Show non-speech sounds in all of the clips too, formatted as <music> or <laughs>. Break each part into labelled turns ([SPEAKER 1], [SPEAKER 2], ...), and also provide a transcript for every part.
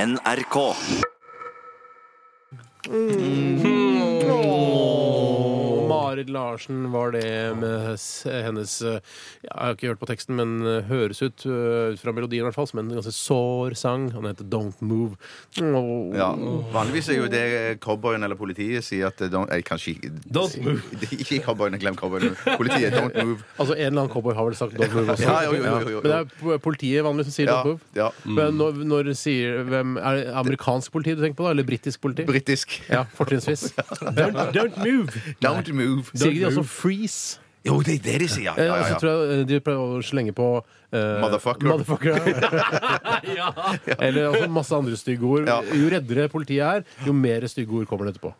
[SPEAKER 1] NRK.
[SPEAKER 2] Marit Larsen var det med s- hennes eh, Jeg har ikke hørt på teksten, men eh, høres ut eh, ut fra melodien i hvert fall som en ganske sår sang. Han heter Don't Move. Åh.
[SPEAKER 3] Ja. Vanligvis er jo det cowboyen eller politiet sier at eh, don't, eh, Kanskje ikke-
[SPEAKER 4] Don't move.
[SPEAKER 3] <laughs> Ikke cowboyene, glem cowboyene. Politiet, don't move.
[SPEAKER 2] Altså En eller annen cowboy har vel sagt 'don't move' også.
[SPEAKER 3] Ja, jo, jo, jo, jo, jo.
[SPEAKER 2] Men det er p- politiet vanligvis som sier
[SPEAKER 3] Ja,
[SPEAKER 2] 'don't move'.
[SPEAKER 3] ja.
[SPEAKER 2] Men når, når sier hvem, Er det amerikansk politi du tenker på, da? Eller britisk politi?
[SPEAKER 3] Britisk.
[SPEAKER 2] ja,
[SPEAKER 3] <laughs>
[SPEAKER 2] Fortrinnsvis.
[SPEAKER 4] Don't, don't move!
[SPEAKER 3] Don't move.
[SPEAKER 2] Sier ikke de også 'freeze'?
[SPEAKER 3] Jo, det er det de sier. Ja,
[SPEAKER 2] Eh,
[SPEAKER 3] ja,
[SPEAKER 2] Og så
[SPEAKER 3] ja.
[SPEAKER 2] tror jeg eh, de prøver å slenge på eh,
[SPEAKER 3] Motherfucker.
[SPEAKER 2] <laughs> Eller altså, masse andre stygge ord.
[SPEAKER 3] Ja.
[SPEAKER 2] Jo reddere politiet er, jo mer stygge ord kommer det etterpå.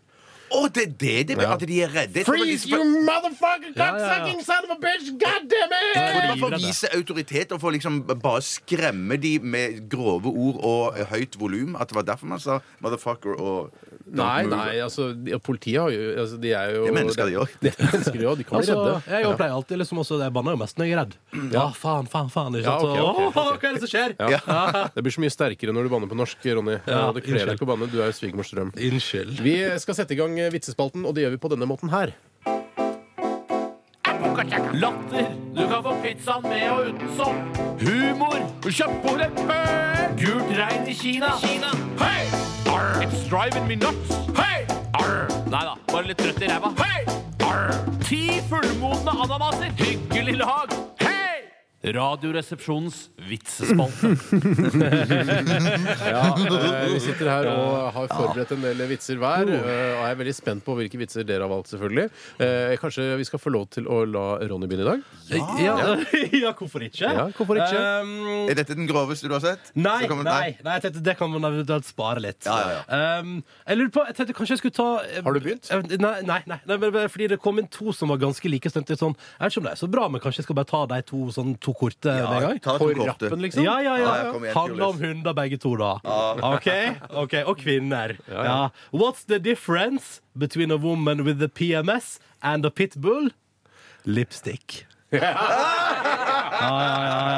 [SPEAKER 3] Å, det er det de At de er redde. liksom Jeg tror
[SPEAKER 2] Freeze,
[SPEAKER 3] de-
[SPEAKER 2] you motherfucker,
[SPEAKER 4] Ja, ja, ja.
[SPEAKER 2] cocksucking son of a bitch! God damn
[SPEAKER 3] Jeg tror det
[SPEAKER 2] it!
[SPEAKER 3] var for å vise autoritet og for liksom bare skremme de med grove ord og høyt volum. At det var derfor man sa 'motherfucker' og don't
[SPEAKER 2] Nei,
[SPEAKER 3] move.
[SPEAKER 2] nei, altså de- og Politiet har jo altså, De er jo
[SPEAKER 3] Det er mennesker, de òg.
[SPEAKER 2] Det er mennesker, <laughs> de òg. De kan bli
[SPEAKER 4] Altså,
[SPEAKER 2] redde. Mm,
[SPEAKER 4] jeg jo pleier alltid liksom også Jeg banner jo mest når jeg er redd. Ja, faen, faen, faen. Ikke
[SPEAKER 2] Ja,
[SPEAKER 4] sant?
[SPEAKER 2] ok,
[SPEAKER 4] Så,
[SPEAKER 2] ok,
[SPEAKER 4] «Åh, Hva er det som skjer?
[SPEAKER 2] Ja. Det blir så mye sterkere når du banner på norsk, Ronny.
[SPEAKER 4] Ja,
[SPEAKER 2] Ja, det kler deg
[SPEAKER 4] unnskyld.
[SPEAKER 2] ikke å banne. Du er jo svigermors drøm.
[SPEAKER 4] Unnskyld.
[SPEAKER 2] Vi skal sette i gang eh, vitsespalten, og det gjør vi på denne måten her.
[SPEAKER 5] Latter. Du kan få pizzaen med og uten sopp. Humor. Kjøpt på leppe. Gult regn i Kina. Kina. Hei! Arr. It's driving me nuts. Hei! Arr. Nei da, bare litt trøtt i ræva. Hei! Arr. Ti fullmodne ananaser. Hyggelig lag. Hei! Radioresepsjonens <laughs> vitsespalte.
[SPEAKER 2] Eh, Vi sitter her og har forberedt en del vitser hver.
[SPEAKER 3] Oh.
[SPEAKER 2] eh, Og jeg er veldig spent på hvilke vitser dere har valgt, selvfølgelig. Eh, Kanskje vi skal få lov til å la Ronny begynne i dag?
[SPEAKER 4] Ja, <laughs> ja, hvorfor ikke?
[SPEAKER 2] Ja, hvorfor ikke?
[SPEAKER 4] Um,
[SPEAKER 3] Er dette den groveste du har sett?
[SPEAKER 4] Nei,
[SPEAKER 3] Så kan man-
[SPEAKER 4] nei, nei, jeg tenkte det kan man eventuelt spare litt.
[SPEAKER 3] Ja, ja,
[SPEAKER 4] Um, jeg lurer på, jeg tenkte kanskje jeg skulle ta eh,
[SPEAKER 2] Har du begynt?
[SPEAKER 4] eh, Nei, nei, nei, nei men, men, fordi det kom inn to som var ganske like. Så tenkte jeg sånn, jeg vet ikke om det er så bra, men kanskje jeg skal bare ta de to, sånn, to korte med en gang?
[SPEAKER 3] ta
[SPEAKER 2] På
[SPEAKER 3] to korte.
[SPEAKER 2] rappen, liksom?
[SPEAKER 4] Ja,
[SPEAKER 3] Ja,
[SPEAKER 4] ja, ja.
[SPEAKER 3] ja, kom igjen,
[SPEAKER 4] Handler om
[SPEAKER 3] Julius.
[SPEAKER 4] hunder, begge to, da. OK? <laughs> ok, Og kvinner. Ja. What's the difference between a woman with the PMS and a pitbull? Lipstick.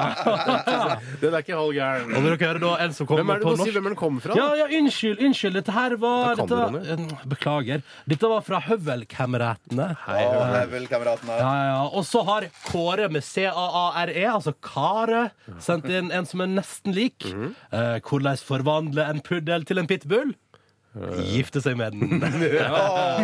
[SPEAKER 2] Den er ikke halv gæren.
[SPEAKER 4] Og vil dere høre da en som kommer
[SPEAKER 2] Hvem er det du
[SPEAKER 4] på
[SPEAKER 2] må si
[SPEAKER 4] norsk?
[SPEAKER 2] hvem er den kommer fra?
[SPEAKER 4] Ja, ja, unnskyld, unnskyld. Dette her var
[SPEAKER 2] Da kan
[SPEAKER 4] dette,
[SPEAKER 2] du
[SPEAKER 4] Mm, Beklager. Dette var fra Høvelkameratene.
[SPEAKER 3] Å, Level, kameratene.
[SPEAKER 4] Ja, ja. Og så har Kåre med C-A-A-R-E, altså Kare, sendt inn en som er nesten lik. Eh, hvordan forvandle en puddel til en pitbull? Gifte seg med den. Ja.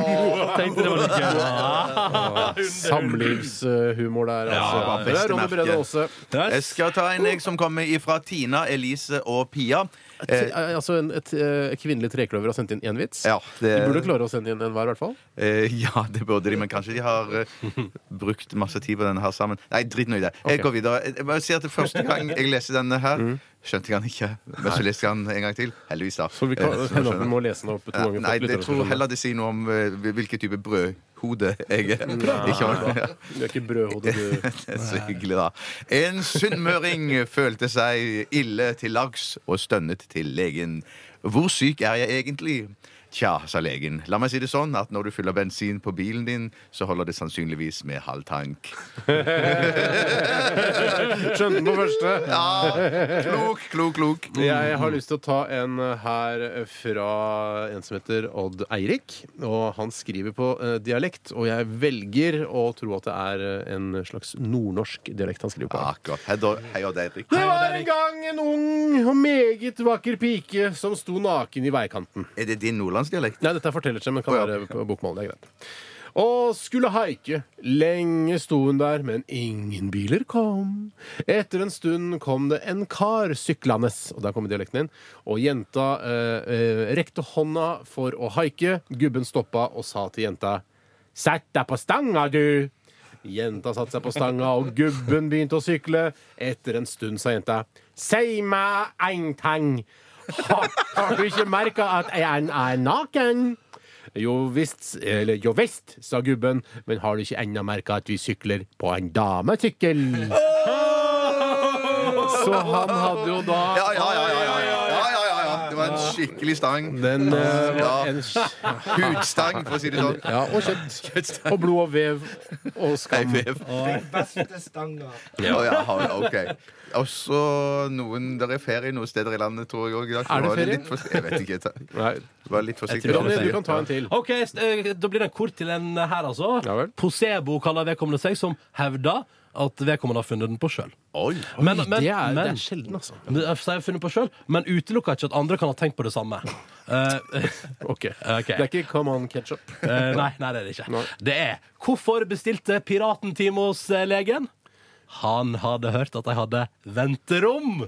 [SPEAKER 4] Tenkte det var litt gøy. Ja.
[SPEAKER 2] Samlivshumor der, altså. det
[SPEAKER 3] det var
[SPEAKER 2] er
[SPEAKER 3] beste
[SPEAKER 2] Ronny
[SPEAKER 3] merke.
[SPEAKER 2] Brede Aase.
[SPEAKER 3] Jeg skal ta en jeg som kommer ifra Tina, Elise og Pia.
[SPEAKER 2] Ti- eh, Altså en, et eh, kvinnelig trekløver har sendt inn én vits.
[SPEAKER 3] Eh, Ja,
[SPEAKER 2] De
[SPEAKER 3] det-
[SPEAKER 2] burde klare å sende inn en hver, i hvert fall.
[SPEAKER 3] Eh, ja, det burde de, men kanskje de har eh, brukt masse tid på denne her sammen. Nei, drit nå i det. Jeg går videre. Jeg bare sier at det Første gang jeg leste denne her,
[SPEAKER 2] Mm.
[SPEAKER 3] skjønte jeg den ikke. Men så leste jeg den en gang til. Heldigvis, da.
[SPEAKER 2] Så vi kan
[SPEAKER 3] Eh, så
[SPEAKER 2] hende at vi
[SPEAKER 3] skjønner.
[SPEAKER 2] må lese den opp to
[SPEAKER 3] Ja,
[SPEAKER 2] ganger. for
[SPEAKER 3] Nei,
[SPEAKER 2] at
[SPEAKER 3] jeg
[SPEAKER 2] lytterne skal
[SPEAKER 3] tror
[SPEAKER 2] skjønne.
[SPEAKER 3] heller det sier noe om eh, hvilken type brødhode jeg er. Ikke om- Ja.
[SPEAKER 2] Du er ikke brødhode, du.
[SPEAKER 3] Det er så hyggelig, da. En sunnmøring følte seg ille til lags og stønnet til legen. Hvor syk er jeg egentlig? Tja, sa legen. La meg si det sånn at når du fyller bensin på bilen din, så holder det sannsynligvis med halv tank.
[SPEAKER 2] Skjønte den på første.
[SPEAKER 3] Ja, klok, klok, klok.
[SPEAKER 2] Jeg har lyst til å ta en eh, her fra en som heter Odd Eirik. Og han skriver på eh, dialekt, og jeg velger å tro at det er eh, en slags nordnorsk dialekt han skriver på.
[SPEAKER 3] Akkurat. Hei, da- Ah, Hei og deg, Erik.
[SPEAKER 2] Det var en gang en ung og meget vakker pike som sto naken i veikanten.
[SPEAKER 3] Er det din nordlandsdialekt?
[SPEAKER 2] Nei, dette er fortellerstemme, men kan
[SPEAKER 3] Å, ja.
[SPEAKER 2] være på bokmål. Det er greit. Og skulle haike. Lenge sto hun der, men ingen biler kom. Etter en stund kom det en kar syklende, og der kommer dialekten inn. Og jenta eh, eh, rekte hånda for å haike. Gubben stoppa og sa til jenta Sett deg på stanga, du! Jenta satte seg på stanga, og gubben begynte å sykle. Etter en stund sa jenta Si meg en ting. Har, har du ikke merka at jeg er naken? Jo visst, eller jo visst, sa gubben, men har du ikke ennå merka at vi sykler på en damesykkel? Så han hadde jo da
[SPEAKER 3] Ja, ja, ja. ja, ja, ja, ja, ja, ja. Det var en skikkelig stang.
[SPEAKER 2] Den eh,
[SPEAKER 3] Ja.
[SPEAKER 2] var en kj-
[SPEAKER 3] Hudstang, for å si det sånn.
[SPEAKER 2] Ja, og kjøtt. Og blod og vev. Og
[SPEAKER 3] Nei,
[SPEAKER 2] skam.
[SPEAKER 3] vev.
[SPEAKER 1] Beste stanga.
[SPEAKER 3] Å, ja, ha- ok. Også noen Der er ferie noen steder i landet, tror jeg òg.
[SPEAKER 2] Er det ferie?
[SPEAKER 3] Litt for, jeg vet ikke. ta-
[SPEAKER 2] Nei.
[SPEAKER 3] Vær litt forsiktig.
[SPEAKER 4] Jeg tror
[SPEAKER 2] Ronny, du kan ta en til.
[SPEAKER 4] OK, s- eh, da blir det en kort til en her, altså.
[SPEAKER 2] Ja vel.
[SPEAKER 4] Posebo kaller vedkommende seg, som hevder at vedkommende har funnet den på sjøl.
[SPEAKER 3] Oi.
[SPEAKER 4] Men,
[SPEAKER 2] Oi, det er- det er sjelden, altså.
[SPEAKER 4] Men, jeg sier funnet på selv, men utelukker ikke at andre kan ha tenkt på det samme. Eh,
[SPEAKER 2] Ok.
[SPEAKER 4] Ok.
[SPEAKER 2] Det er ikke Come On Ketchup.
[SPEAKER 4] eh, nei, nei, det er det ikke. Det er Hvorfor bestilte piraten time hos eh, legen? Han hadde hørt at de hadde venterom.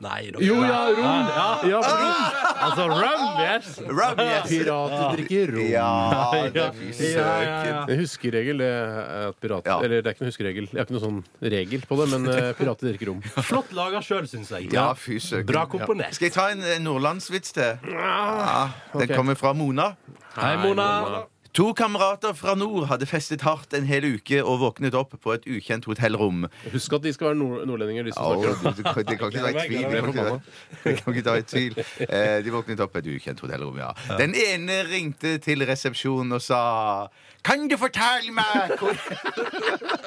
[SPEAKER 4] Nei, dere.
[SPEAKER 2] <laughs> Jo, ja, rom. Ah!
[SPEAKER 4] Ja, ja.
[SPEAKER 2] Ja, rom.
[SPEAKER 4] Altså rom, yes.
[SPEAKER 3] Rum, yes.
[SPEAKER 2] Pirater drikker rom.
[SPEAKER 3] Ja, det er søken.
[SPEAKER 2] En huskeregel det er at pirater
[SPEAKER 3] Ja.
[SPEAKER 2] Eller det er ikke noen huskeregel. Jeg har ikke noen sånn regel på det, men <laughs> eh, pirater drikker rom.
[SPEAKER 4] Flott laga sjøl, syns jeg.
[SPEAKER 3] Ja, fy søken.
[SPEAKER 4] Bra komponert.
[SPEAKER 3] Skal jeg ta en eh, nordlandsvits til? Ja, den
[SPEAKER 2] ok.
[SPEAKER 3] kommer fra Mona.
[SPEAKER 4] Hei, Mona.
[SPEAKER 3] To kamerater fra nord hadde festet hardt en hel uke og våknet opp på et ukjent hotellrom.
[SPEAKER 2] Husk at de skal være nord nordlendinger, de som
[SPEAKER 3] Au,
[SPEAKER 2] snakker.
[SPEAKER 3] det kan det kan ikke være i tvil. Det kan ikke være- det kan ikke være i tvil. Eh, De våknet opp på et ukjent hotellrom, ja. Den ene ringte til resepsjonen og sa Kan du fortelle meg hvor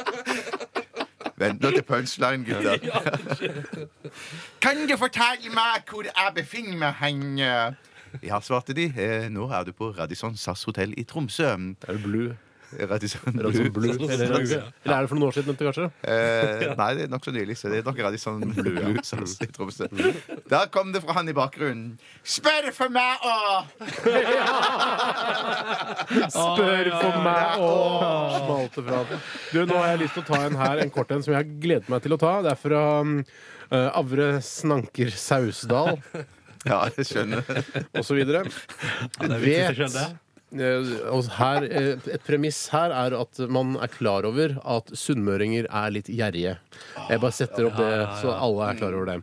[SPEAKER 3] <laughs> Vent nå til punchline, <laughs> gutter. Kan du fortelle meg hvor jeg befinner meg hen? Ja, svarte de. Eh, Nå er du på Radisson SAS hotell i Tromsø.
[SPEAKER 2] Er det blue?
[SPEAKER 3] Radisson
[SPEAKER 2] Er det sånn blue? Eller,
[SPEAKER 4] Blue, ja.
[SPEAKER 2] eller er det for noen år siden, dette, kanskje?
[SPEAKER 3] Eh, nei, det er nokså nylig, så det er nok litt
[SPEAKER 2] <laughs>
[SPEAKER 3] sånn bluesaus i Tromsø. Der kom det fra han i bakgrunnen. Spør for meg òg!
[SPEAKER 2] Spør for meg og smalte fra. Du, nå har jeg lyst til å ta en her, en kort en, som jeg har gledet meg til å ta. Det er fra mm, eh, Avre Snanker Sausdal
[SPEAKER 3] Ja, jeg skjønner.
[SPEAKER 2] osv.
[SPEAKER 4] det er viktig å
[SPEAKER 2] Vet
[SPEAKER 4] skjønne det.
[SPEAKER 2] eh, og her, eh, Et premiss her er at man er klar over at sunnmøringer er litt gjerrige. Jeg bare setter
[SPEAKER 4] Ah,
[SPEAKER 2] opp det, så alle er klar over det.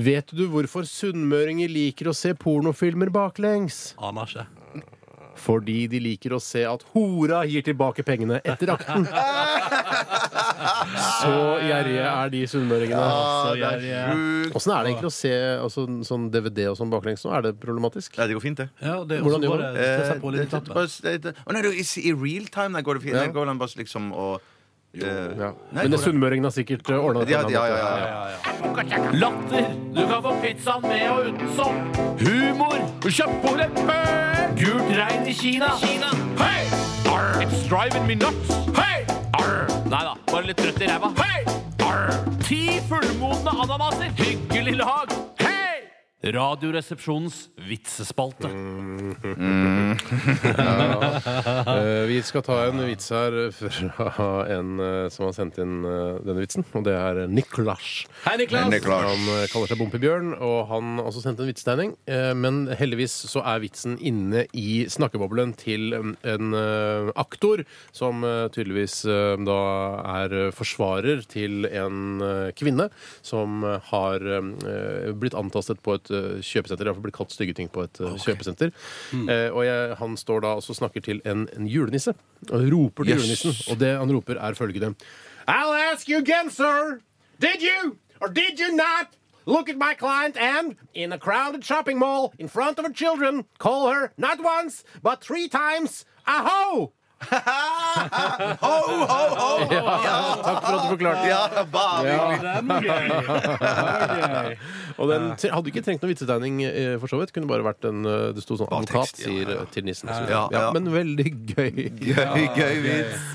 [SPEAKER 2] Vet du hvorfor sunnmøringer liker å se pornofilmer baklengs?
[SPEAKER 4] Aner ikke.
[SPEAKER 2] Fordi de liker å se at hora gir tilbake pengene etter
[SPEAKER 4] <laughs>
[SPEAKER 2] akten. Så gjerrige er de sunnmøringene.
[SPEAKER 3] Ah,
[SPEAKER 4] Så
[SPEAKER 3] det er
[SPEAKER 4] jeg, eh,
[SPEAKER 3] sjukt.
[SPEAKER 2] Åssen er det egentlig å se altså, sånn DVD og sånn baklengs nå? Er det problematisk?
[SPEAKER 3] Nei, det går fint, det.
[SPEAKER 4] Ja, det,
[SPEAKER 2] Hvordan gjør
[SPEAKER 4] også går
[SPEAKER 2] man?
[SPEAKER 4] det- det
[SPEAKER 3] Eh,
[SPEAKER 4] setter på litt
[SPEAKER 3] det-
[SPEAKER 4] i tappen.
[SPEAKER 3] bare s- det- det- Å nei, du, i, i real time der går det fint. Der går han bare liksom og eh,
[SPEAKER 2] Ja.
[SPEAKER 3] nei,
[SPEAKER 2] Men det
[SPEAKER 3] går det-
[SPEAKER 2] sunnmøringene har sikkert eh, ordna det.
[SPEAKER 3] ja,
[SPEAKER 2] på en
[SPEAKER 3] ja,
[SPEAKER 2] annen
[SPEAKER 3] ja,
[SPEAKER 2] måte.
[SPEAKER 3] ja, ja.
[SPEAKER 5] Latter. Du kan få pizzaen med og uten sånn. sopp. Humor. Kjøpt på leppe. Gult regn i Kina. Hei! Arr. It's driving me nuts. Hei! Arr. Nei da, bare litt trøtt i ræva. Hei! Arr. Ti fullmodne ananaser. Hyggelig lag. Hei! Radioresepsjonens vitsespalte.
[SPEAKER 2] Eh, Vi skal ta en vits her fra en eh, som har sendt inn eh, denne vitsen, og det er Niklas.
[SPEAKER 4] Hei,
[SPEAKER 3] Men det
[SPEAKER 4] Niklas.
[SPEAKER 3] er klart.
[SPEAKER 2] Han eh, kaller seg Bompebjørn, og han har også sendt en vitsetegning. Eh, Men heldigvis så er vitsen inne i snakkeboblen til en, en eh, aktor som eh, tydeligvis eh, da er eh, forsvarer til en eh, kvinne som eh, har eh, blitt antastet på et eh, kjøpesenter. Iallfall blitt kalt stygge ting på et eh, kjøpesenter. Eh, Og jeg, han står da og så snakker til en, en julenisse. Og roper til
[SPEAKER 3] Yes.
[SPEAKER 2] julenissen. Og det han roper, er følgende I'll ask you again, sir. Did you or did you not look at my client and, in a crowded shopping mall in front of her children, call her not once, but three times a ho?
[SPEAKER 3] <laughs> Ho, ho, ho!
[SPEAKER 2] Takk for at du forklarte.
[SPEAKER 3] Ja, bare hyggelig.
[SPEAKER 2] <laughs> Og den tre- hadde ikke trengt noen vitsetegning, eh, for så vidt. Kunne bare vært en eh, Det sto sånn
[SPEAKER 3] Bare
[SPEAKER 2] advokat,
[SPEAKER 3] tekst, ja, ja,
[SPEAKER 2] sier
[SPEAKER 3] ja.
[SPEAKER 2] eh, til nissen. og så videre.
[SPEAKER 3] Ja,
[SPEAKER 2] Ja,
[SPEAKER 3] ja.
[SPEAKER 2] men veldig gøy.
[SPEAKER 3] Gøy, gøy vits.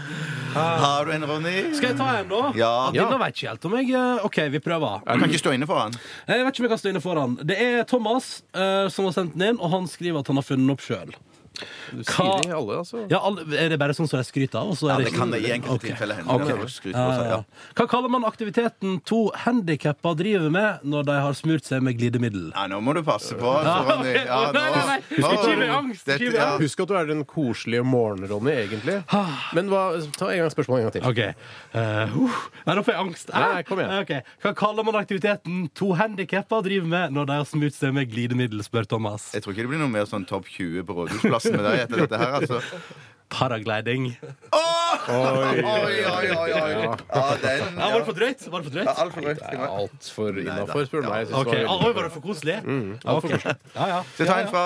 [SPEAKER 3] Har du en, Ronny?
[SPEAKER 4] Skal jeg ta en, da?
[SPEAKER 3] Ja.
[SPEAKER 4] Denne vet ikke helt om jeg eh, OK, vi prøver.
[SPEAKER 3] Du kan ikke stå inne for han.
[SPEAKER 4] Jeg vet ikke om jeg kan stå inne foran. Det er Thomas eh, som har sendt den inn, og han skriver at han har funnet den opp sjøl.
[SPEAKER 2] Du sier det i alle, altså.
[SPEAKER 4] Ja, all- er det bare sånn som de skryter av? og så
[SPEAKER 3] Ja,
[SPEAKER 4] er
[SPEAKER 3] det kan det i enkelte
[SPEAKER 4] Ok.
[SPEAKER 3] tilfeller hende.
[SPEAKER 4] Ok. Eh,
[SPEAKER 3] Det er å skryte på seg, ja.
[SPEAKER 4] Hva kaller man aktiviteten to handikappa driver med når de har smurt seg med glidemiddel?
[SPEAKER 3] Nei, nå må du passe
[SPEAKER 4] <laughs>
[SPEAKER 3] på. altså, Ronny. Ja,
[SPEAKER 4] Nei, nei, nei.
[SPEAKER 3] nå-
[SPEAKER 4] Husk ikke
[SPEAKER 3] nå-
[SPEAKER 4] med angst,
[SPEAKER 3] Dette-
[SPEAKER 4] ikke med
[SPEAKER 3] ja.
[SPEAKER 2] Husk at du er den koselige morgenen, Ronny, egentlig. Men hva, ta en gang spørsmålet en gang til.
[SPEAKER 4] OK. Eh, uh, nei, nå får jeg angst. Eh,
[SPEAKER 2] Nei, nei, kom igjen.
[SPEAKER 4] Ok. Hva kaller man aktiviteten to handikappa driver med når de har smurt seg med glidemiddel, spør Thomas.
[SPEAKER 3] Jeg tror ikke det blir noe mer sånn topp 20 på Rådhusplassen med deg etter dette her, altså.
[SPEAKER 4] Paragliding.
[SPEAKER 3] Åh!
[SPEAKER 2] Oi,
[SPEAKER 3] Oi, oi, oi, oi. Ja, den
[SPEAKER 4] Ja, var det for drøyt? Var det for drøyt?
[SPEAKER 3] Ja, alt for drøyt.
[SPEAKER 2] Altfor innafor,
[SPEAKER 3] Neida.
[SPEAKER 2] spør du meg. Jeg synes
[SPEAKER 4] Ok,
[SPEAKER 2] det var
[SPEAKER 4] ah,
[SPEAKER 2] veldig
[SPEAKER 4] Oi, var det for koselig?
[SPEAKER 2] alt for
[SPEAKER 4] Ok. Ja, ja.
[SPEAKER 3] Det tar en fra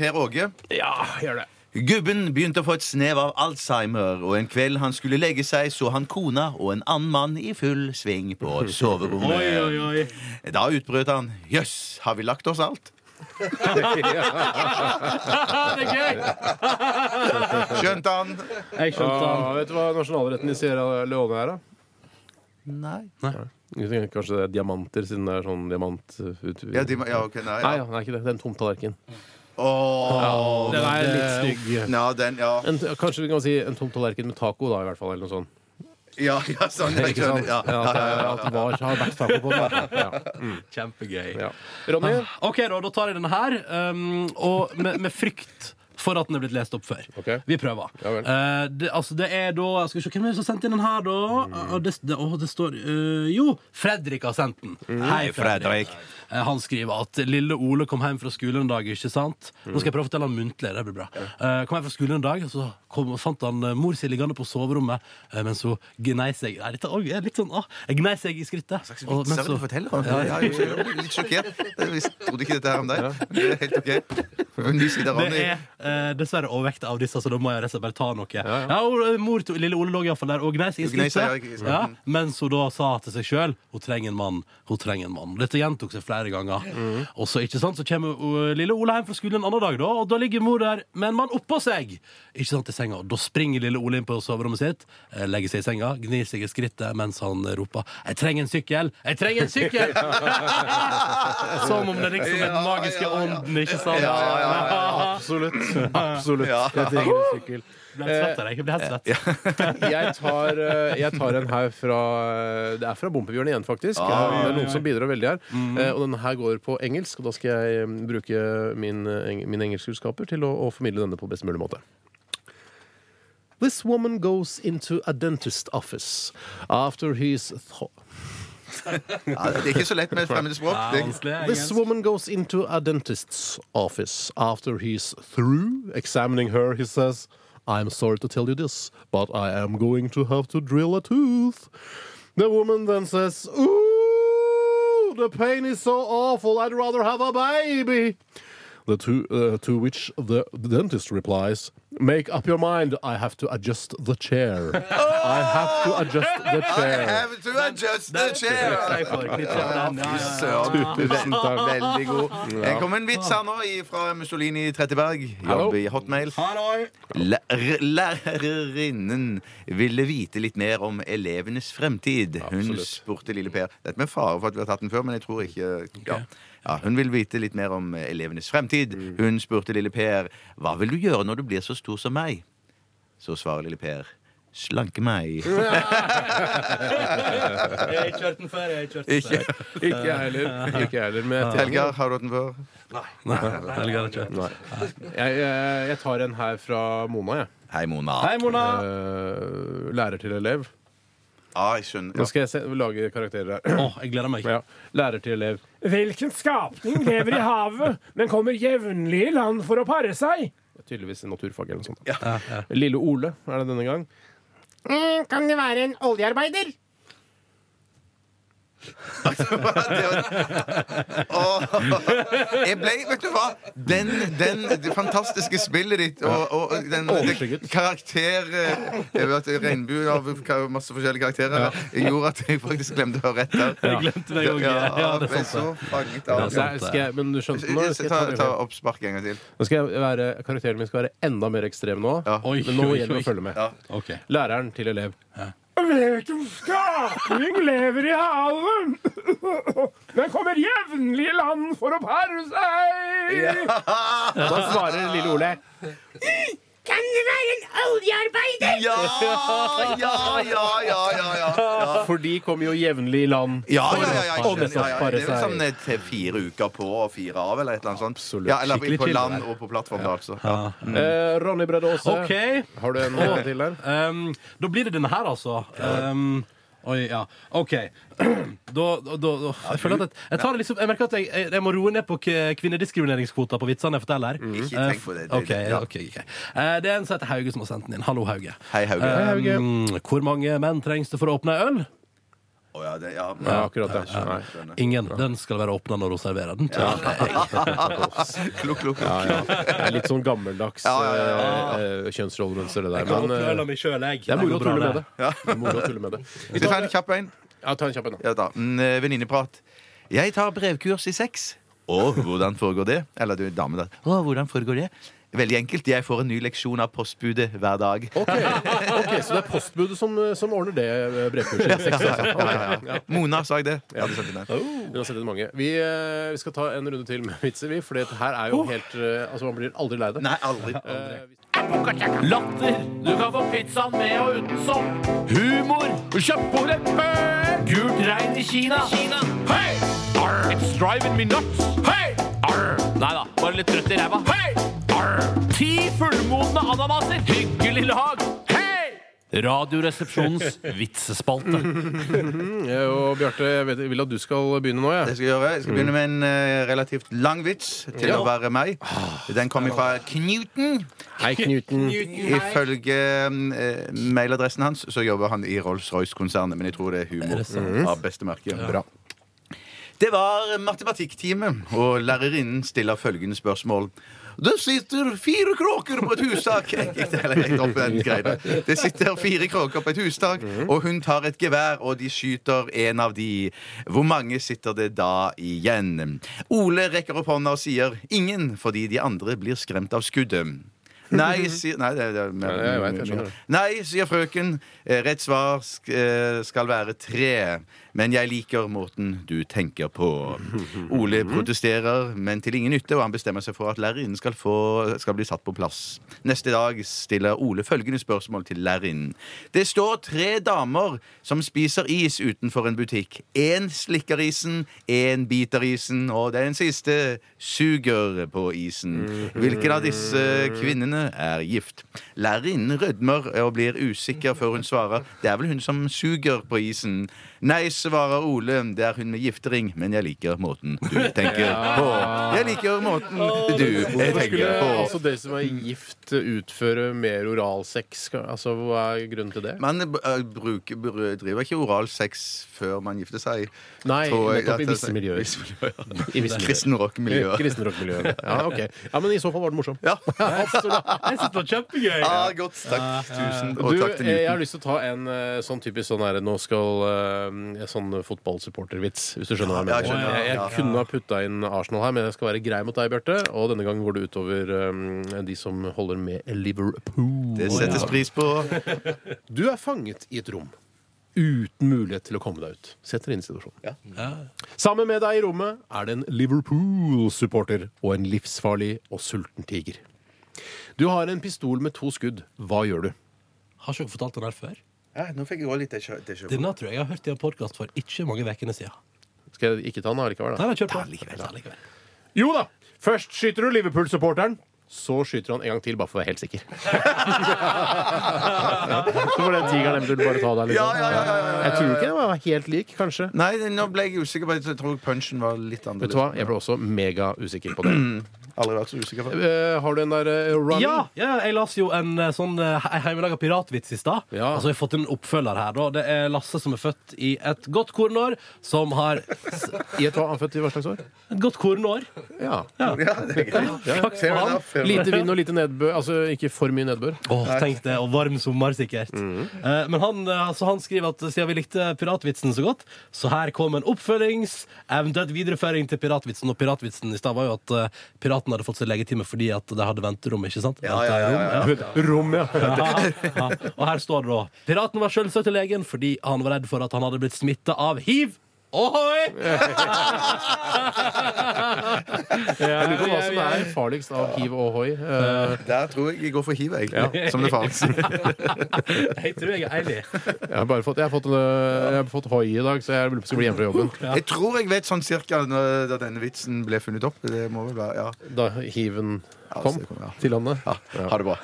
[SPEAKER 3] Per Åge.
[SPEAKER 2] Ja, gjør det.
[SPEAKER 3] Gubben begynte å få et snev av Alzheimer, og en kveld han skulle legge seg, så han kona og en annen mann i full sving på
[SPEAKER 4] <laughs> Oi, oi,
[SPEAKER 3] soverommet.
[SPEAKER 4] oi.
[SPEAKER 3] Da utbrøt han 'Jøss, har vi lagt oss alt?' <laughs>
[SPEAKER 4] det er gøy!
[SPEAKER 3] Skjønte han?
[SPEAKER 4] Jeg skjønte han.
[SPEAKER 2] Ah, vet du hva nasjonalretten i Sierra Leone er, da?
[SPEAKER 3] Nei.
[SPEAKER 2] Jeg tenker Kanskje det er diamanter, siden det er sånn diamantut...
[SPEAKER 3] Ja, de, ja ok, nei.
[SPEAKER 2] Nei,
[SPEAKER 3] Ja.
[SPEAKER 2] ja, det er ikke det. Det er en tom tallerken.
[SPEAKER 3] Åh,
[SPEAKER 2] Den er litt stygg.
[SPEAKER 3] ja, den, ja.
[SPEAKER 2] En, kanskje vi kan si en tom tallerken med taco, da, i hvert fall. Eller noe sånt.
[SPEAKER 3] Ja, ja, sånn. Jeg
[SPEAKER 2] Ikke sant?
[SPEAKER 3] skjønner. Ja,
[SPEAKER 2] Ja, at det er- at det var- har vært taco på den. da. Ja.
[SPEAKER 4] Kjempegøy.
[SPEAKER 2] Ja. Ronny,
[SPEAKER 4] Ah, Ok, da, da tar jeg denne her, um, og med, med frykt for at den er blitt lest opp før.
[SPEAKER 2] Ok.
[SPEAKER 4] Vi prøver.
[SPEAKER 2] Ja vel.
[SPEAKER 4] Eh, det, altså, det er da Skal vi se, Hvem er det som har sendt inn den her, da?
[SPEAKER 2] Mm.
[SPEAKER 4] Ah, det, det, åh, det står eh, Jo, Fredrik har sendt den.
[SPEAKER 2] Mm.
[SPEAKER 4] Hei, Fredrik. Eh, Han skriver at lille Ole kom hjem fra skolen en dag. ikke sant? Nå skal jeg prøve å fortelle han muntlig. det blir bra. Eh, kom hjem fra skolen en dag, så kom, fant han eh, mor si liggende på soverommet eh, mens hun gnei seg Nei, dette også er litt sånn, ah, gnei seg i skrittet. Og
[SPEAKER 3] Vitser
[SPEAKER 4] mens
[SPEAKER 3] du
[SPEAKER 4] hun-
[SPEAKER 3] forteller om? Ja, jeg blir litt sjokkert. Jeg trodde ikke dette her om deg. Men det er helt ok. Ny side av
[SPEAKER 4] Det
[SPEAKER 3] Ronny.
[SPEAKER 4] er eh, dessverre overvekt av disse, så da må jeg rett og slett bare ta noe. Ja, og, eh, mor til Lille Ole lå iallfall der og gnei seg i
[SPEAKER 3] Hun gnei seg,
[SPEAKER 4] skrittet.
[SPEAKER 3] ja,
[SPEAKER 4] Ja, mens hun da sa til seg sjøl hun trenger en mann. hun trenger en mann. Dette gjentok seg flere ganger.
[SPEAKER 3] Mm.
[SPEAKER 4] Og så ikke sant, så kommer eh, Lille Ole hjem fra skolen en annen dag, da, og da ligger mor der med en mann oppå seg. Ikke sant, i senga. Da springer Lille Ole inn på soverommet sitt, eh, legger seg i senga, gnir seg i skrittet mens han eh, roper 'Jeg trenger en sykkel! Jeg trenger
[SPEAKER 3] <laughs>
[SPEAKER 4] en sykkel!' Som om det liksom er den magiske
[SPEAKER 3] Ja, ja, ja.
[SPEAKER 4] ånden, ikke sant?
[SPEAKER 3] Ja, ja, ja,
[SPEAKER 2] absolutt. Absolutt.
[SPEAKER 3] <laughs> Ja.
[SPEAKER 2] Jeg trenger en sykkel.
[SPEAKER 4] Jeg ble helt svett av deg. Jeg ble helt svett.
[SPEAKER 2] Jeg tar, eh, jeg tar en her fra eh, Det er fra Bompebjørn igjen, faktisk. Eh, det er noen som bidrar veldig her. Eh, Og denne her går på engelsk, og da skal jeg eh, bruke min, eh, eng- mine engelskkunnskaper til å, å formidle denne på best mulig måte. This woman goes into a dentist office after he's tho-
[SPEAKER 3] Ja, det er ikke så lett med fremmede språk.
[SPEAKER 4] Det
[SPEAKER 3] Det,
[SPEAKER 4] er vanskelig,
[SPEAKER 2] This
[SPEAKER 4] engelsk.
[SPEAKER 2] woman goes into a dentist's office. After he's through examining her, he says, I'm sorry to tell you this, but I am going to have to drill a tooth. The woman then says, Ooh, the pain is so awful, I'd rather have a baby. The two, uh, to which the dentist replies, Make up your mind, I have to adjust the chair. <laughs> I have to adjust the
[SPEAKER 3] I
[SPEAKER 2] chair.
[SPEAKER 3] have to adjust the chair.
[SPEAKER 4] Jeg får knytte den, ja, ja, ja.
[SPEAKER 3] Søren.
[SPEAKER 2] Tusen takk.
[SPEAKER 3] Veldig god. Det kom en vits her nå i- fra Mussolini Tretteberg.
[SPEAKER 2] Hallo.
[SPEAKER 3] Jobb i Hotmail. Lærer- Lærerinnen ville vite litt mer om elevenes fremtid. Hun
[SPEAKER 2] Absolutt.
[SPEAKER 3] spurte lille Per Dette med fare for at vi har tatt den før, men jeg tror ikke ja. Ja, Hun vil vite litt mer om elevenes fremtid.
[SPEAKER 2] Mm.
[SPEAKER 3] Hun spurte lille Per hva vil du gjøre når du blir så stor som meg. Så svarer lille Per slanke meg.
[SPEAKER 4] Jeg har ikke hørt den før. Jeg har ikke hørt den
[SPEAKER 3] Ikke
[SPEAKER 4] før.
[SPEAKER 2] <laughs> Ikke jeg heller. Ikke jeg heller, men jeg tenker-
[SPEAKER 3] Helgar, har du hatt den før?
[SPEAKER 4] Helga, det er ikke.
[SPEAKER 2] Nei. Jeg, jeg, jeg tar en her fra Mona, jeg.
[SPEAKER 3] Hei, Mona.
[SPEAKER 4] Hei, Mona.
[SPEAKER 2] Eh, lærer til elev.
[SPEAKER 3] Ja, Ah, jeg skjønner.
[SPEAKER 2] Nå skal jeg se, lage karakterer her. <clears throat>
[SPEAKER 4] Å, jeg gleder meg.
[SPEAKER 2] Ja. Lærer til elev.
[SPEAKER 1] Hvilken skapning lever i havet, men kommer jevnlig i land for å pare seg?
[SPEAKER 2] Tydeligvis naturfag eller noe sånt. Lille Ole er det denne gang.
[SPEAKER 6] Kan det være en oljearbeider?
[SPEAKER 3] Det var- Åh. Jeg ble, vet du hva Den, den Det fantastiske spillet ditt og, og den
[SPEAKER 2] Overskygget.
[SPEAKER 3] det karakter eh, Jeg vet at Regnbuen av ka- masse forskjellige karakterer eh, gjorde at jeg faktisk glemte å høre rett der.
[SPEAKER 4] Jeg glemte deg òg.
[SPEAKER 3] Ja,
[SPEAKER 4] Ja,
[SPEAKER 3] jeg
[SPEAKER 4] det
[SPEAKER 3] ble
[SPEAKER 4] er
[SPEAKER 3] så
[SPEAKER 4] sant.
[SPEAKER 3] fanget
[SPEAKER 2] Ja,
[SPEAKER 3] av eh,
[SPEAKER 2] så jeg- skal jeg, men du skjønte nå? Skal jeg
[SPEAKER 3] Ta,
[SPEAKER 2] ta det
[SPEAKER 3] ta
[SPEAKER 2] med?
[SPEAKER 3] oppspark en gang til.
[SPEAKER 2] nå skal jeg være, karakteren min skal være enda mer ekstrem nå.
[SPEAKER 3] Ja.
[SPEAKER 4] Oi,
[SPEAKER 2] Men nå
[SPEAKER 4] oi,
[SPEAKER 2] gjelder det å
[SPEAKER 4] oi.
[SPEAKER 2] følge med.
[SPEAKER 3] Ja.
[SPEAKER 4] det. Ok.
[SPEAKER 2] Læreren til elev.
[SPEAKER 1] Hvilken skapning lever i havet, men kommer jevnlig i land for å pare seg?
[SPEAKER 2] Da svarer Lille Ole.
[SPEAKER 6] Kan det være en oljearbeider?
[SPEAKER 3] Ja, ja, ja, ja, ja, ja.
[SPEAKER 2] For de kommer jo jevnlig i land.
[SPEAKER 3] Ja, ja, ja, ja,
[SPEAKER 2] Og
[SPEAKER 3] jeg
[SPEAKER 2] nettopp
[SPEAKER 3] skjønner. ja, ja.
[SPEAKER 2] pare
[SPEAKER 3] Det er vel
[SPEAKER 2] seg.
[SPEAKER 3] sånn eh, til fire uker på og fire av, eller et eller annet sånt.
[SPEAKER 2] Absolutt.
[SPEAKER 3] Ja, eller
[SPEAKER 4] Skikkelig
[SPEAKER 3] på
[SPEAKER 4] chill,
[SPEAKER 3] land
[SPEAKER 4] det
[SPEAKER 3] og på plattform, da, altså. Ja.
[SPEAKER 2] Eh, Ronny Bredde Aase,
[SPEAKER 4] Ok. ehm,
[SPEAKER 2] har du en eh, til der?
[SPEAKER 4] Um, da blir det denne her, altså. Um, Oi, ja. OK. <clears throat> Da, da, da, da. Jeg, føler at jeg, jeg, tar det liksom, jeg merker at jeg, jeg, jeg må roe ned på k- kvinnediskrimineringskvota på vitsene jeg forteller.
[SPEAKER 3] Ikke
[SPEAKER 4] Eh,
[SPEAKER 3] tenk på det. Det-
[SPEAKER 4] ok,
[SPEAKER 3] Mm. det-
[SPEAKER 4] ja, ok, ok. Eh, det er en som heter Hauge som har sendt den inn. Hallo, Hauge.
[SPEAKER 3] Hei, Hauge.
[SPEAKER 4] Eh, hvor mange menn trengs det for å åpne ei øl?
[SPEAKER 3] Å ja, det, ja.
[SPEAKER 2] Ja, akkurat det. Nei.
[SPEAKER 4] Ingen. Den skal være åpna når hun serverer den. til deg.
[SPEAKER 3] Klukk, klukk, klukk.
[SPEAKER 2] Det er Litt sånn gammeldags eh, eh, kjønnsrollemønster, det der. Men eh,
[SPEAKER 4] mi sjøl, jeg.
[SPEAKER 2] det er moro å
[SPEAKER 4] går bra,
[SPEAKER 2] tulle med det. Det er moro å tulle med det.
[SPEAKER 3] Skal jeg ta en kjapp en?
[SPEAKER 2] Ja, ta en kjapp en, da.
[SPEAKER 3] Ja da. Mm, eh, Venninneprat. Jeg tar brevkurs i sex. Å, hvordan foregår det? Eller du, dame da. Å, hvordan foregår det? Veldig enkelt. Jeg får en ny leksjon av postbudet hver dag.
[SPEAKER 2] Ok, ok, Så det er postbudet som, som ordner det eh, brevkurset? i sex, altså. Ok, ja.
[SPEAKER 3] Mona sa jeg det. Jeg hadde sendt inn den.
[SPEAKER 2] Vi har sett inn mange. Vi, eh, vi skal ta en runde til med vitser, vi. For dette her er jo helt eh, Altså, man blir aldri lei det.
[SPEAKER 3] Nei, aldri.
[SPEAKER 2] Eh,
[SPEAKER 5] Latter. Du kan få pizzaen med og uten sopp. Humor. Kjøtt på leppet. Gult regn i Kina. Hei! Arr. It's driving me nuts. Hei! Arr. Nei da, bare litt trøtt i ræva. Hei! Arr. Ti fullmodne ananaser. Hyggelig lag. Hei!
[SPEAKER 4] <laughs>
[SPEAKER 5] Radioresepsjonens vitsespalte.
[SPEAKER 2] <laughs> eh, og Bjarte, jeg vet- vil at du skal begynne nå,
[SPEAKER 3] Det
[SPEAKER 2] jeg.
[SPEAKER 3] skal jeg gjøre. Jeg skal begynne med en eh, relativt lang vits til å være meg. Den kommer fra Knuten.
[SPEAKER 2] Hei, Knuten.
[SPEAKER 3] Ifølge eh, mailadressen hans så jobber han i Rolls-Royce-konsernet, men jeg tror det er humor av beste merke. Bra. Det var matematikktime, og lærerinnen stiller følgende spørsmål. Det sitter fire kråker på et hustak. <laughs> Jeg gikk det hele rett opp i den greia. Det sitter fire kråker på et hustak,
[SPEAKER 2] Mhm.
[SPEAKER 3] og hun tar et gevær, og de skyter en av de. Hvor mange sitter det da igjen? Ole rekker opp hånda og sier ingen, fordi de andre blir skremt av
[SPEAKER 2] <laughs>
[SPEAKER 3] skuddet. Nei, sier Nei, det, det, det,
[SPEAKER 2] Ja, jeg vet, jeg skjønner det.
[SPEAKER 3] Nei, sier frøken. Eh, Rett svar sk eh, skal være tre. Men jeg liker måten du tenker på. Ole protesterer, men til ingen nytte, og han bestemmer seg for at lærerinnen skal, få- skal bli satt på plass. Neste dag stiller Ole følgende spørsmål til lærerinnen. Det står tre damer som spiser is utenfor en butikk. Én slikker isen, én biter isen, og den siste suger på isen. Hvilken av disse kvinnene er gift? Lærerinnen rødmer og blir usikker før hun svarer Det er vel hun som suger på isen Nei, svarer Ole Det er hun med giftering, men jeg liker måten du tenker på Jeg liker måten du
[SPEAKER 2] Hvorfor
[SPEAKER 3] tenker
[SPEAKER 2] skulle
[SPEAKER 3] på
[SPEAKER 2] altså de som er gift, utføre mer oralsex? Altså, Hva er grunnen til det?
[SPEAKER 3] man eh, bruker, br- driver ikke oral sex før man gifter seg
[SPEAKER 2] Nei,
[SPEAKER 3] tror jeg
[SPEAKER 2] nettopp i
[SPEAKER 3] at-
[SPEAKER 2] visse miljøer.
[SPEAKER 3] Visse miljøer.
[SPEAKER 2] I visse miljøer.
[SPEAKER 3] Kristen rock-miljøer
[SPEAKER 2] Kristenrockmiljøet. <laughs> Ja, ok. ja, men i så fall var den morsom.
[SPEAKER 3] Ja,
[SPEAKER 2] Absolutt.
[SPEAKER 4] Jeg synes det var kjempegøy.
[SPEAKER 3] ah, godt, takk tusen
[SPEAKER 2] Du,
[SPEAKER 3] Og takk til
[SPEAKER 2] eh, jeg har
[SPEAKER 3] Newton
[SPEAKER 2] lyst til å ta en eh, sånn typisk sånn her Nå skal eh, Sånn fotballsupportervits, hvis du skjønner hva jeg mener.
[SPEAKER 3] Ja, jeg skjønner,
[SPEAKER 2] jeg jeg
[SPEAKER 3] ja.
[SPEAKER 2] kunne ha putta inn Arsenal her, men jeg skal være grei mot deg, Bjarte. Og denne gangen går det utover eh, de som holder med Liverpool.
[SPEAKER 3] Det settes pris på
[SPEAKER 2] Du er fanget i et rom uten mulighet til å komme deg ut. Sett deg inn i situasjonen. Sammen med deg i rommet er det en Liverpool-supporter og en livsfarlig og sulten tiger. Du har en pistol med to skudd. Hva gjør du?
[SPEAKER 4] Har ikke dere fortalt den her før?
[SPEAKER 3] ja, Nå fikk jeg også litt déjà- déjà vu.
[SPEAKER 4] Denne tror jeg jeg har hørt i en podkast for ikke mange ukene siden.
[SPEAKER 2] Skal jeg ikke ta den allikevel, da?
[SPEAKER 4] Nei, nei, kjør på. Ta likevel.
[SPEAKER 2] Jo da! Først skyter du Liverpool-supporteren. Så skyter han en gang til, bare for å være helt sikker. så får den tigeren eventuelt bare ta deg, liksom.
[SPEAKER 3] Ja, ja, ja, ja, ja.
[SPEAKER 2] Jeg tror ikke den var helt lik, kanskje.
[SPEAKER 3] Nei, nå ble jeg usikker på det. Jeg tror punchen var litt
[SPEAKER 2] Vet
[SPEAKER 3] annerledes.
[SPEAKER 2] du hva, jeg ble også mega usikker på det.
[SPEAKER 3] Aldri vært så usikker før.
[SPEAKER 2] Eh, har du en der eh, running?
[SPEAKER 4] Ja, ja, jeg las jo en eh, sånn eh, he- hjemmelaga piratvits i stad.
[SPEAKER 2] Ja.
[SPEAKER 4] Altså, jeg har fått en oppfølger her. da Det er Lasse som er født i et godt kornår, som har s-
[SPEAKER 2] I et hva han født i hva slags år?
[SPEAKER 4] Et godt kornår.
[SPEAKER 2] Ja.
[SPEAKER 3] Ja, det er greit.
[SPEAKER 4] Flaks
[SPEAKER 3] Fair
[SPEAKER 4] for han.
[SPEAKER 3] enough, fair enough.
[SPEAKER 2] Lite vind og lite nedbør. Altså ikke for mye nedbør.
[SPEAKER 4] Åh, tenk det, og varm sommer sikkert
[SPEAKER 3] Mm.
[SPEAKER 4] Eh, Men han, eh, altså, han skriver at Siden vi likte piratvitsen så godt Så her kom en oppfølgings Eventuelt videreføring til piratvitsen Og piratvitsen i sted var jo at eh, piraten hadde fått seg legetime Fordi at det hadde venterom, ikke sant?
[SPEAKER 3] Ja, ja, ja, ja,
[SPEAKER 2] Rom, ja.
[SPEAKER 4] Venterom, ja. Ja. Og her står det da Piraten var selvsagt til legen fordi han var redd for at han hadde blitt smittet av HIV
[SPEAKER 3] <laughs>
[SPEAKER 4] Ohoi!
[SPEAKER 2] Jeg lurer på hva som er farligst av hiv og hoi. Eh,
[SPEAKER 3] Der tror jeg jeg går for hiv, jeg. Som det
[SPEAKER 2] <laughs>
[SPEAKER 3] farligste.
[SPEAKER 4] Jeg tror jeg er eilig.
[SPEAKER 2] jeg har bare fått, jeg har fått, eh, jeg har fått hoi i dag, så jeg lurer på om jeg skal bli hjemme fra jobben.
[SPEAKER 3] Jeg tror jeg vet sånn cirka når, da denne vitsen ble funnet opp. Det må vel være, ja.
[SPEAKER 2] Da hiven
[SPEAKER 3] Ja,
[SPEAKER 2] kom
[SPEAKER 3] så kom, ja.
[SPEAKER 2] til landet.
[SPEAKER 3] ja. Ha
[SPEAKER 2] <laughs>
[SPEAKER 3] det bra.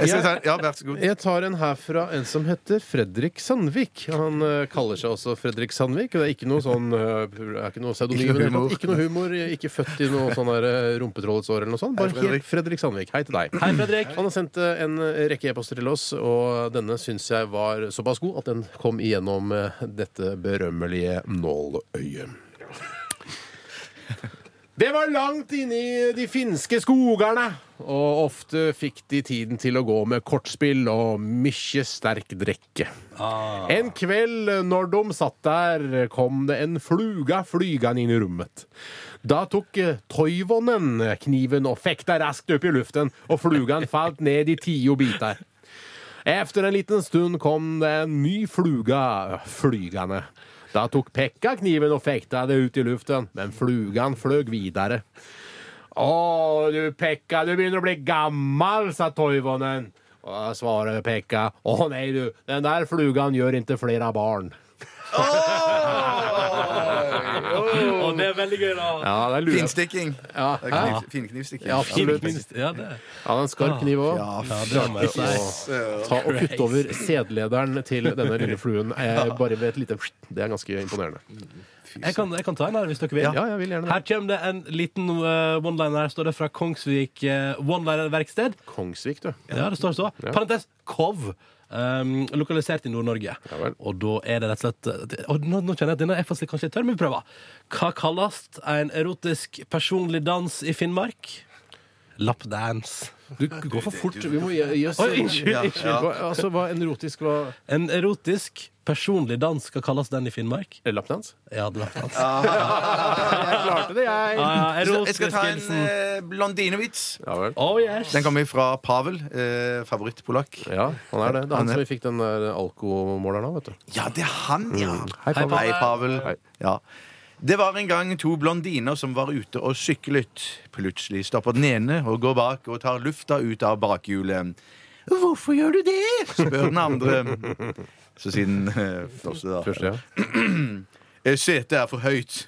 [SPEAKER 3] Jeg skal ta, ja, vær så god.
[SPEAKER 2] Jeg tar en her fra en som heter Fredrik Sandvik. Han eh, kaller seg også Fredrik Sandvik. og Det er ikke noe sånn eh, det er ikke noe pseudonym.
[SPEAKER 3] Ikke noe
[SPEAKER 2] eller noe.
[SPEAKER 3] humor.
[SPEAKER 2] Ikke noe humor. Ikke født i noe sånn der, eh, rumpetrollets år eller noe sånt. Bare
[SPEAKER 3] Hei, Fredrik.
[SPEAKER 2] helt Fredrik Sandvik. Hei til deg.
[SPEAKER 4] Hei, Fredrik.
[SPEAKER 2] Han har sendt eh, en rekke e-poster til oss, og denne syns jeg var såpass god at den kom igjennom eh, dette berømmelige nåløyet. Det var langt inne i de finske skogerne, og ofte fikk de tiden til å gå med kortspill og mykje sterk drikke. En kveld eh, når de satt der, kom det en fluga flygende inn i rommet. Da tok eh, Toivonen eh, kniven og fekta raskt opp i luften, og flugan falt ned i tio biter. Efter en liten stund kom det en ny fluga flygende. Da tok Pekka kniven og fekta det ut i luften, men flugan fløg videre. Å, du Pekka, du begynner å bli gammel, sa Toivonen. Og da svarer Pekka, å nei du, den der flugan gjør ikke flere barn.
[SPEAKER 4] Og det er veldig gøy, da.
[SPEAKER 2] Ja, det er
[SPEAKER 3] Finstikking.
[SPEAKER 2] Ja,
[SPEAKER 3] Det er kniv- Finknivstikking.
[SPEAKER 2] Ja, absolutt.
[SPEAKER 4] Ja, det.
[SPEAKER 2] Ja, det Ah. er en skarp kniv eh, òg.
[SPEAKER 4] Ja, det må jeg si.
[SPEAKER 2] Ta og kutt over sædlederen til denne lille fluen. Eh, Bare ved et lite Det er ganske imponerende.
[SPEAKER 4] Jeg kan, jeg kan ta en her hvis dere vil.
[SPEAKER 2] Ja, jeg vil gjerne det.
[SPEAKER 4] Her kommer det en liten eh, one-liner. Her står det fra Kongsvik eh, one-liner-verksted.
[SPEAKER 2] Kongsvik, du.
[SPEAKER 4] Ja, det står så. Parentes KOV. Um, lokalisert i Nord-Norge.
[SPEAKER 2] vel.
[SPEAKER 4] Og da er det rett og slett eh, og nå, nå kjenner jeg at denne er faktisk kanskje litt tørr, men vi prøver. Hva kalles en erotisk personlig dans i Finnmark? Lappdance.
[SPEAKER 2] Du går for fort. Vi må gi gi oss
[SPEAKER 4] Oi, unnskyld! unnskyld.
[SPEAKER 2] Hva, altså, hva en erotisk hva
[SPEAKER 4] En erotisk personlig dans, hva kalles den i Finnmark?
[SPEAKER 2] Lappdans?
[SPEAKER 4] Ja, det er lappdans.
[SPEAKER 2] Jeg klarte det, jeg.
[SPEAKER 4] <laughs> Ah,
[SPEAKER 3] Jeg skal
[SPEAKER 4] erotisk
[SPEAKER 3] ta en
[SPEAKER 4] hilsen.
[SPEAKER 3] eh, blondinevits.
[SPEAKER 2] Ja vel.
[SPEAKER 4] Oh yes!
[SPEAKER 3] Den kommer fra Pavel, eh, favorittpolakk.
[SPEAKER 2] Ja, han er det. Det er
[SPEAKER 3] Han
[SPEAKER 2] han
[SPEAKER 3] er-
[SPEAKER 2] som vi fikk den der alkomåleren av, vet du.
[SPEAKER 3] Ja, det er han, ja.
[SPEAKER 2] Mm. Hei, Pavel.
[SPEAKER 3] Hei, Pavel.
[SPEAKER 2] Hei.
[SPEAKER 3] Ja. Det var en gang to blondiner som var ute og syklet. Plutselig stopper den ene og går bak og tar lufta ut av bakhjulet. Hvorfor gjør du det? spør den andre. Så siden eh, første, da.
[SPEAKER 2] Første, ja.
[SPEAKER 3] Eh, Setet er for høyt.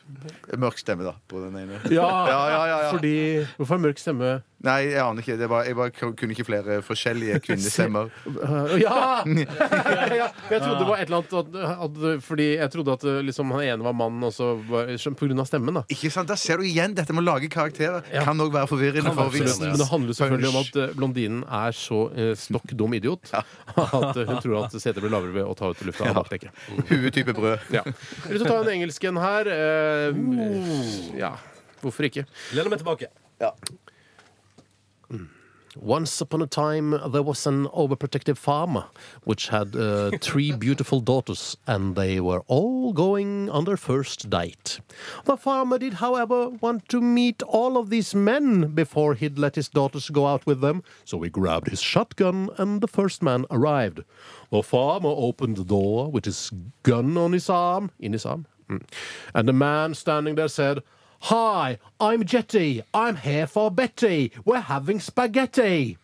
[SPEAKER 3] Mørk stemme, da, på den ene. Ja, ja, ja, ja.
[SPEAKER 2] Fordi Hvorfor er mørk stemme
[SPEAKER 3] Nei, jeg aner ikke. Det var, jeg bare kunne ikke flere forskjellige kvinnestemmer.
[SPEAKER 2] Øh, Ja! ja! Jeg trodde det var et eller annet at, at, Fordi jeg trodde at eh, liksom, han ene var mann, og så var- skjøn- på grunn av stemmen, da.
[SPEAKER 3] Ikke sant, Da ser du igjen dette med å lage karakterer. Kan òg være forvirrende.
[SPEAKER 4] Kan være
[SPEAKER 3] for vitsen.
[SPEAKER 2] Men det handler selvfølgelig om at eh, blondinen er så eh, stokk dum idiot <laughs> at eh, hun tror at setet blir lavere ved å ta ut lufta av bakdekket.
[SPEAKER 3] Huetype brød.
[SPEAKER 2] Ja. Jeg har lyst til å ta en engelsk en her. eh, ja, hvorfor ikke?
[SPEAKER 4] Lener meg tilbake.
[SPEAKER 2] Once upon a time there was an overprotective farmer which had uh, three beautiful daughters and they were all going on their first date. The farmer did, however, want to meet all of these men before he'd let his daughters go out with them, so he grabbed his shotgun and the first man arrived. The farmer opened the door with his gun on his arm, in his arm, mm, and the man standing there said, Hi, I'm Jetty. I'm here for Betty. We're having spaghetti.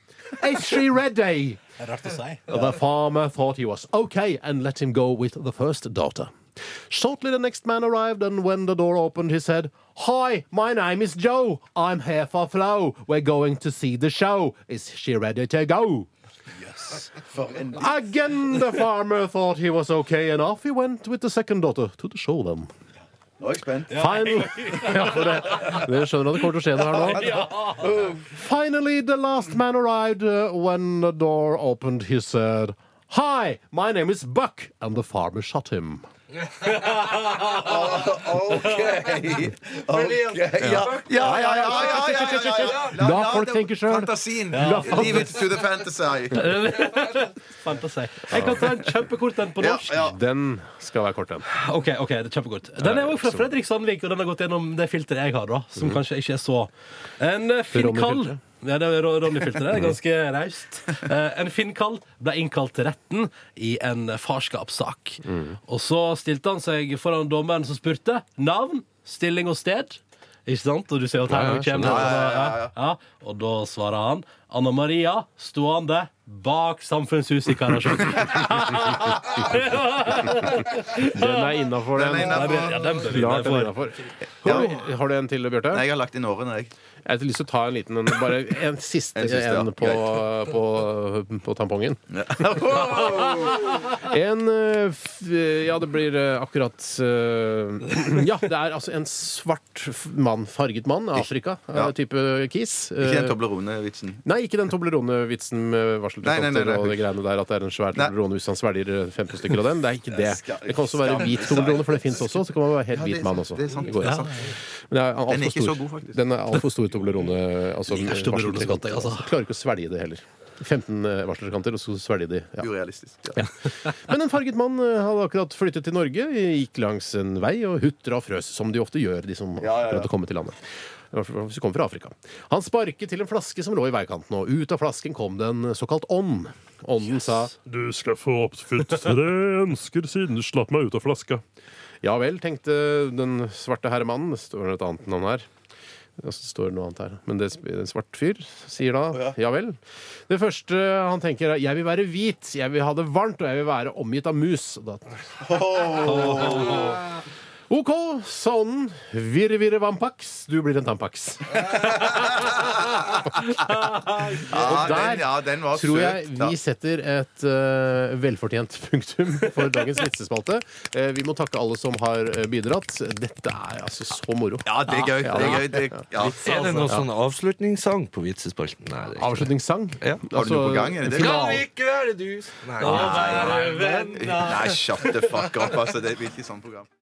[SPEAKER 2] Is she ready?
[SPEAKER 4] Det er rart å si.
[SPEAKER 2] <laughs> The farmer thought he was okay and let him go with the first daughter. Shortly, the next man arrived, and when the door opened, he said, Hi, my name is Joe. I'm here for Flo. We're going to see the show. Is she ready to go? Again, the farmer thought he was okay, and off he went with the second daughter to the show then.
[SPEAKER 3] Nå er jeg spent.
[SPEAKER 2] Final... <laughs> Ja, for det, dere skjønner at det kommer til å skje noe her nå? Finally, the last man arrived uh, when the door opened. He said, Hi, my name is Buck, and the farmer shot him.
[SPEAKER 3] OK. Ja, ja, ja.
[SPEAKER 2] La folk tenke sjøl.
[SPEAKER 3] Fantasien. Leave it to the fantasy.
[SPEAKER 4] Fantasi. Jeg kan ta en kjempekort en på
[SPEAKER 3] Ja,
[SPEAKER 4] norsk.
[SPEAKER 3] ja.
[SPEAKER 2] Den skal være kort, den.
[SPEAKER 4] Ah, Ok, ok, det er kjempekort Den er også fra Fredrik Sandvik, og den har gått gjennom det filteret Mhm. jeg har. da Som kanskje ikke er så En eh, Finn
[SPEAKER 2] Ronny
[SPEAKER 4] Kall
[SPEAKER 2] filteret.
[SPEAKER 4] Ja, det er Ron- Ronny fylte det. Ganske raust. Eh, En finnkall ble innkalt til retten i en eh, farskapssak. Og så stilte han seg foran dommeren som spurte navn, stilling og sted. Ikke sant? Og du ser jo at her nå kommer det. Ja, ja. Og da svarer han Anna Maria stående bak Samfunnshuset i <laughs> Karasjok.
[SPEAKER 2] Den er innafor,
[SPEAKER 3] Den er
[SPEAKER 2] den.
[SPEAKER 3] innenfor.
[SPEAKER 4] Ja, den bør vi
[SPEAKER 2] Klart den er
[SPEAKER 4] derfor.
[SPEAKER 2] innafor. Har har du en til, Bjarte?
[SPEAKER 3] Nei, jeg har lagt inn årene, jeg.
[SPEAKER 2] Jeg har lyst til å ta en liten en. Bare en siste
[SPEAKER 3] En
[SPEAKER 2] en,
[SPEAKER 3] siste, ja.
[SPEAKER 2] på, på, på tampongen. En eh, f- Ja, det blir eh, akkurat eh, Ja, det er altså en svart f- mann, farget mann, av Afrika,
[SPEAKER 3] Ja.
[SPEAKER 2] eh, type kis.
[SPEAKER 3] Ikke den
[SPEAKER 2] Eh,
[SPEAKER 3] Toblerone-vitsen.
[SPEAKER 2] Nei, ikke den Toblerone-vitsen med
[SPEAKER 3] Nei, nei, nei,
[SPEAKER 2] varseltrakter
[SPEAKER 3] nei.
[SPEAKER 2] og det greiene der at det er en svær
[SPEAKER 3] Nei.
[SPEAKER 2] Toblerone hvis han svelger eh, 50 stykker av den. Det er ikke det.
[SPEAKER 3] skal-
[SPEAKER 2] Det kan også være
[SPEAKER 3] skal-
[SPEAKER 2] hvit Toblerone, for det fins også. Så kan man være helt
[SPEAKER 3] Ja, det er
[SPEAKER 2] hvit mann
[SPEAKER 3] sant,
[SPEAKER 2] også.
[SPEAKER 3] det er sant,
[SPEAKER 2] Det går
[SPEAKER 3] det er
[SPEAKER 2] an. Men det er alt
[SPEAKER 3] Den
[SPEAKER 2] for
[SPEAKER 3] er ikke
[SPEAKER 2] stor.
[SPEAKER 3] så god, faktisk.
[SPEAKER 2] Den er altfor stor Toblerone. Altså,
[SPEAKER 4] ikke Toblerone så godt, jeg, altså.
[SPEAKER 2] varseltrekant. Klarer ikke å svelge det heller. 15 varselkanter, og så svelge de. Ja.
[SPEAKER 3] Urealistisk. Ja.
[SPEAKER 2] Men en farget mann eh, hadde akkurat flyttet til Norge, gikk langs en vei og hutra og frøs, som de ofte gjør, de som
[SPEAKER 3] ja, ja.
[SPEAKER 2] akkurat har kommet til landet. I hvert fall Hvis du kommer fra Afrika. Han sparket til en flaske som lå i veikanten, og ut av flasken kom det en såkalt ånd. Ånden sa
[SPEAKER 7] Du skal få oppfylt tre ønsker siden du slapp meg ut av flaska.
[SPEAKER 2] ja vel, tenkte den svarte herremannen. Det står et annet navn her. Og så står det noe annet her. Men det er en svart fyr sier da ja vel. Det første han tenker, er jeg vil være hvit, jeg vil ha det varmt, og jeg vil være omgitt av mus. Og Da... OK, sa ånden. Virre, virre, vampax. Du blir en tampax.
[SPEAKER 3] Ja,
[SPEAKER 2] der
[SPEAKER 3] den, ja, den var
[SPEAKER 2] tror jeg
[SPEAKER 3] søt.
[SPEAKER 2] vi setter et eh, velfortjent punktum for dagens vitsespalte. Eh, vi må takke alle som har eh, bidratt. Dette er altså så moro.
[SPEAKER 3] Ja, det er gøy. Det er gøy. Det, ja.
[SPEAKER 8] Er det noen sånn avslutningssang på vitsespalten? Nei, det er ikke det.
[SPEAKER 2] Avslutningssang.
[SPEAKER 3] Har du noe på gang? Er det det?
[SPEAKER 8] Kan vi ikke være dus? Nei.
[SPEAKER 4] Å være venner.
[SPEAKER 3] Nei, shut the fuck up, altså. Det blir ikke sånn program.